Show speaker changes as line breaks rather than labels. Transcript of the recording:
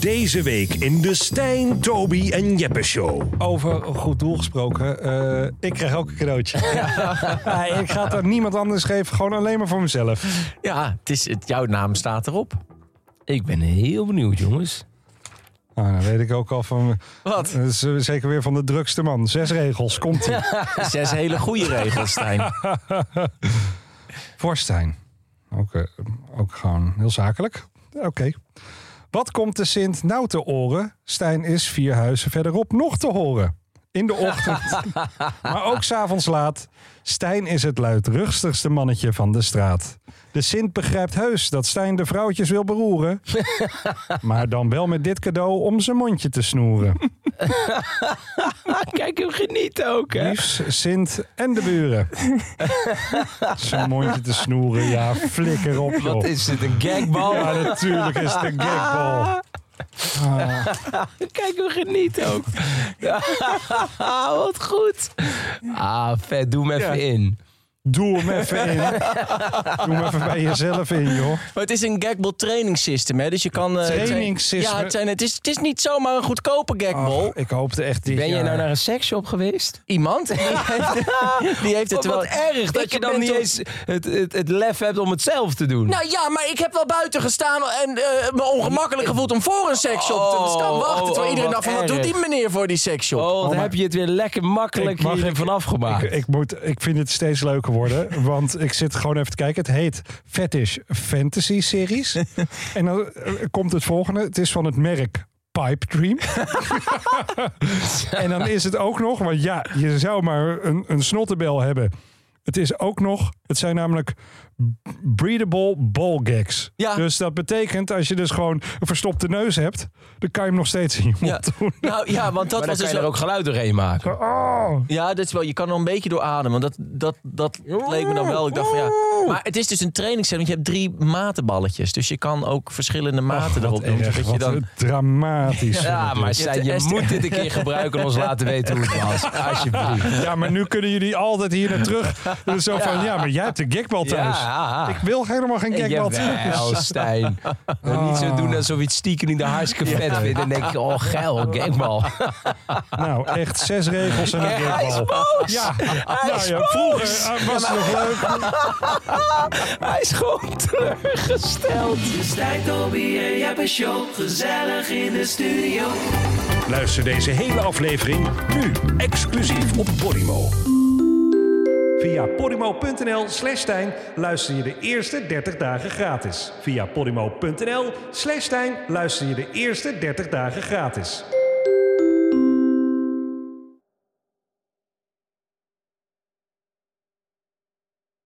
Deze week in de Stijn, Toby en Jeppe Show.
Over een goed doel gesproken. eh, ik krijg ook een cadeautje. Ja, ik ga het aan niemand anders geven. Gewoon alleen maar voor mezelf.
Ja, het is, het, jouw naam staat erop. Ik ben heel benieuwd, jongens.
Nou, dan weet ik ook al van...
Wat?
Dat is eh, zeker weer van de drukste man. Zes regels. Komt-ie.
Zes hele goede regels, Stijn.
Voor Stijn. Ook, eh, ook gewoon heel zakelijk. Ja, Oké. Wat komt de Sint nou te oren? Stijn is vier huizen verderop nog te horen. In de ochtend, maar ook s'avonds laat. Stijn is het luidruchtigste mannetje van de straat. De Sint begrijpt heus dat Stijn de vrouwtjes wil beroeren. maar dan wel met dit cadeau om zijn mondje te snoeren.
Kijk hem genieten ook, hè?
Liefs, Sint en de buren. zijn mondje te snoeren, ja, flikker op joh.
Wat is dit, een gagbal?
Ja, natuurlijk is het een gagbal.
Kijk hem genieten ook. Wat goed. Ah, vet. Doe hem even in.
Doe hem even in. Doe hem even bij jezelf in, joh.
Maar het is een gagball training system, hè? Dus je kan... eh, het zijn-
Trainingssystem.
Ja, het, zijn, het, is, het is niet zomaar een goedkope gagball.
Ach, ik hoopte echt dit
Ben jij
jaar-
nou naar een seksshop geweest?
Iemand die heeft, die heeft het wel...
Oh, wat erg dat
Ik
je dan
ben
niet
toen-
eens het, het, het lef hebt om het zelf te doen.
Nou ja, maar ik heb wel buiten gestaan en eh, me ongemakkelijk gevoeld om voor een seksshop te
Oh,
staan wachten.
oh,
terwijl
oh,
iedereen dacht
wat
van, wat
erg.
doet die meneer voor die seksshop?
oh, dan
maar-
heb je het weer lekker makkelijk
Ik mag-
hier vanaf gemaakt.
Ik, ik, moet, ik vind het steeds leuker worden, want ik zit gewoon even te kijken. Het heet Fetish Fantasy Series. En dan eh, komt het volgende. Het is van het merk Pipe Dream. en dan is het ook nog, want ja, je zou maar een, een snottenbel hebben. Het is ook nog, het zijn namelijk breedable ball gags.
Ja.
Dus dat betekent, als je dus gewoon een verstopte neus hebt, dan kan je hem nog steeds in je mond
Ja.
doen.
Nou ja, want dat
maar dan
was
kan
dus...
je er
wel-
ook geluid doorheen maken.
Oh.
Ja, dat is wel, je kan er een beetje door ademen. Dat, dat, dat leek me dan wel. Ik dacht van ja. Maar het is dus een trainingsset, want je hebt drie matenballetjes. Dus je kan ook verschillende maten
Oh, Wat
erop doen.
erg,
zodat je
wat
dan...
dramatisch.
Ja, maar
Je hebt
Stijn,
de
je
est-
moet dit een keer gebruiken en ons laten weten hoe het was. Alsjeblieft.
Ja, maar nu kunnen jullie altijd hier naar terug. Dus Zo van, ja. maar jij hebt de gekbal thuis.
Ja.
Ik wil helemaal geen gekbal
Jawel, Stijn. Niet zo doen alsof je het stiekem niet de hartstikke vet vindt. En denk je, oh geil, gekbal.
Nou, echt zes regels en een
hij is
gekbal. Ja, ja, ja, vroeger eh, was het nog leuk.
Hij is gewoon teruggesteld.
Stijn, Toby en Jeppe Show, gezellig in de studio.
Luister deze hele aflevering nu exclusief op Podimo.
Via podimo.nl slash Stijn luister je de eerste 30 dagen gratis. Via podimo.nl slash Stijn luister je de eerste 30 dagen gratis.